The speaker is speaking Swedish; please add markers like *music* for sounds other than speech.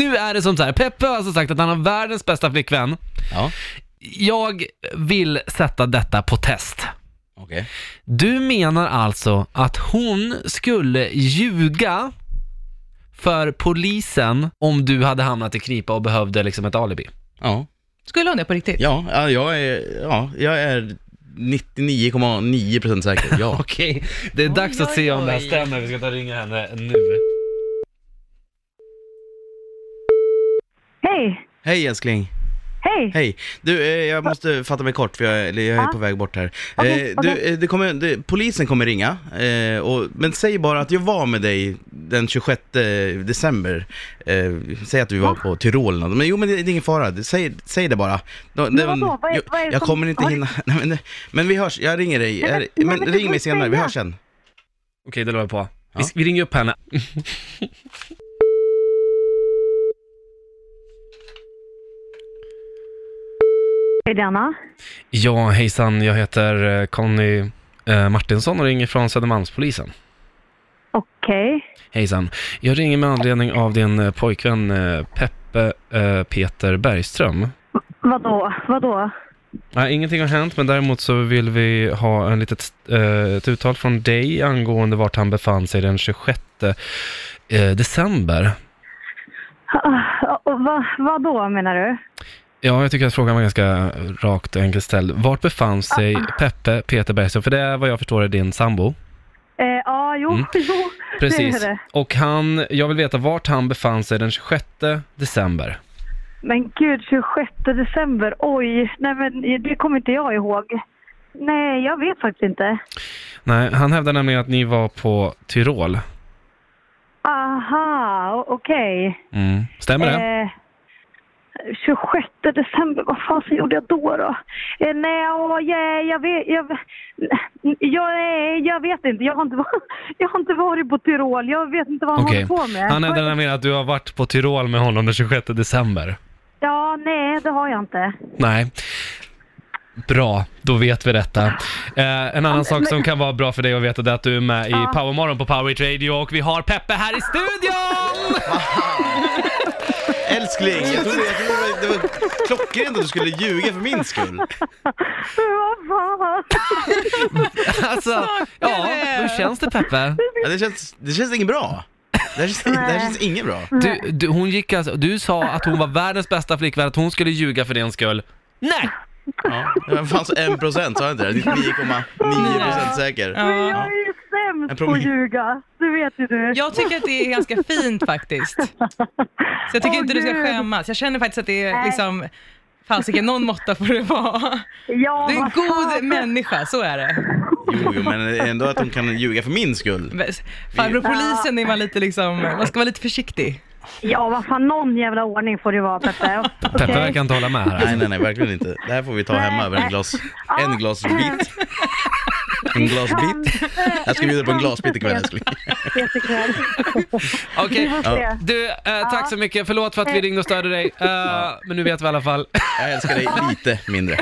nu är det som så här, Peppe har alltså sagt att han har världens bästa flickvän. Ja, Jag vill sätta detta på test. okej. Du menar alltså att hon skulle ljuga för polisen om du hade hamnat i knipa och behövde liksom ett alibi? Ja. Skulle hon det på riktigt? Ja, ja, jag är, ja, jag är 99,9% säker. *laughs* Ja. Okej, det är dags Oj, att se oj, om det här oj. stämmer. Vi ska ta och ringa henne nu. Hej! Hej älskling. Hej! Hej. Du, eh, jag måste fatta mig kort för jag, eller jag är Ja. på väg bort här. Okej, eh, du, okej. eh, det kommer, det, polisen kommer ringa, eh, och, men säg bara att jag var med dig den 26 december. Eh, säg att vi var på Tyrol eller något. Men jo, men det, det är ingen fara. Du, Säg, säg det bara. Då- den- vadå? Vad är- jag, vad är det jag som- kommer inte har du- hinna. *laughs* Nej, men, men vi hörs, jag ringer dig. Nej, men- Är- men nej, men du ring mig får senare, vi säga. hörs sen. Okej, det la jag på. Vi, Ja. vi ringer upp henne. Hej Diana. Ja, hejsan. Jag heter eh, Conny eh, Martinsson och ringer från Södermalmspolisen. Okej. Hejsan. Jag ringer med anledning av din eh, pojkvän eh, Peppe eh, Peter Bergström. Vadå? Vadå? Nej, ingenting har hänt, men däremot så vill vi ha en litet, eh, ett uttal från dig angående vart han befann sig den 26 eh, december. Ah, och Va, vadå menar du? Ja, jag tycker att frågan var ganska rakt och enkelt ställd. Vart befann Ah, sig Peppe Peter Bergström? För det är vad jag förstår är din sambo. Eh, ja, jo, Mm. *laughs* jo. Precis. Det är det. Och han, jag vill veta vart han befann sig den 26 december. Men gud, 26 december. Oj, nej men det kommer inte jag ihåg. Nej, jag vet faktiskt inte. Nej, han hävdar nämligen att ni var på Tyrol. Aha, o- okej. Mm. Stämmer det? Eh, 26 december, vad fan så gjorde jag då då? Eh, nej, åh, jag, jag vet... Jag, jag, nej, jag vet inte. Jag har inte, var- *laughs* jag har inte varit på Tyrol. Jag vet inte vad han Okej. håller på med. Han hävdar Vad- nämligen att du har varit på Tyrol med honom den 26 december. Ja, nej, det har jag inte. Nej. Bra, då vet vi detta. Eh, en annan sak som kan vara bra för dig att veta det är att du är med i Alltså, Ja. Powermorgon på Power Hit Radio och vi har Peppe här i *laughs* studion! Älskling, jag trodde, jag trodde det var, det var klockrent att du skulle ljuga för min skull. Vad fan? Alltså, ja, hur känns det Peppe? Ja, det, känns, det känns inget bra. Det här känns, det här Nej. känns inget bra. Du, du, hon gick alltså, du sa att hon var världens bästa flickvän, att hon skulle ljuga för din skull. Nej! Ja, det fanns en procent, sa jag inte det? 99,9 procent säker. Men Ja. jag är ju En sämst på promenad. att ljuga. Det vet ju du. Jag tycker att det är ganska fint faktiskt. Så jag tycker Åh, inte du ska Gud. skämmas. Jag känner faktiskt att det är Nej. liksom, fasiken, någon måtta får det vara. Ja, Du är en vad fan. god människa, så är det. Jo, jo, men ändå att de kan ljuga för min skull. Farbror polisen är man lite liksom, man ska vara lite försiktig. Ja, vad fan. Någon jävla ordning får det vara, Peppe. *laughs* Peppe Okej. verkar inte hålla med här. *laughs* Nej, nej, nej, verkligen inte. Det här får vi ta hemma över en glas, en glasbit. En glasbit. Jag ska bjuda på en glasbit ikväll, älskling. *laughs* Ses ikväll. Vi Okej, får Ja. se. du, eh, tack så mycket. Förlåt för att Eh, vi ringde och störde dig, eh, men nu vet vi i alla fall. Jag älskar dig lite mindre.